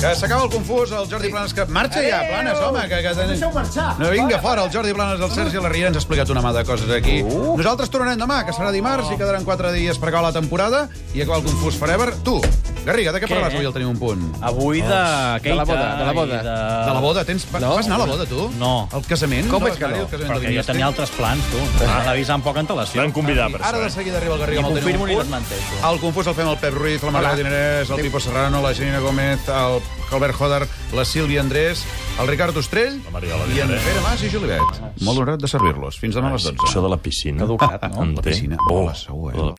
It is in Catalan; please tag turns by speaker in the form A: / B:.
A: Que s'acaba el confús, el Jordi Planes que... Marxa ja, Planes, home! Que, que...
B: Deixeu marxar.
A: No, vinga, fora, el Jordi Planes, el Sergi i la Riera ens ha explicat una mà de coses aquí.
B: Uh.
A: Nosaltres tornarem demà, que serà dimarts, i quedaran 4 dies per acabar la temporada i acabar el confús forever. Tu, Garriga, de què,
C: Què?
A: parles avui al Tenim un punt?
C: Avui de Keita.
D: la boda, de la
C: i
D: boda.
C: De...
A: De la boda, tens... No.
D: No.
A: Vas anar a la boda, tu?
C: No.
A: Al casament?
D: Com és
A: vas
D: que
A: anar-hi,
D: no?
A: al casament de
C: Perquè jo
A: Vinyestes?
C: tenia altres plans, tu. M'has d'avisar amb poca antelació.
E: Van convidar, per
A: Ara
E: això.
A: de seguida arriba el Garriga
C: I
A: amb el Tenim
C: confirmo
A: un
C: ni
A: punt.
C: desmenteixo.
A: Al confús el fem el Pep Ruiz, la Margarida Dinarès, el Pipo Serrano, la Janina Gómez, el Albert Joder, la Sílvia Andrés, el Ricard Ostrell
E: Mariola
A: i en
E: Dinarès.
A: Pere Mas i Julibet. Molt honorat de servir-los. Fins demà a les 12.
E: Això de la piscina.
C: Caducat, no?
E: Em
A: La
E: té.
A: piscina.
E: Oh,
A: La seua, eh?
E: la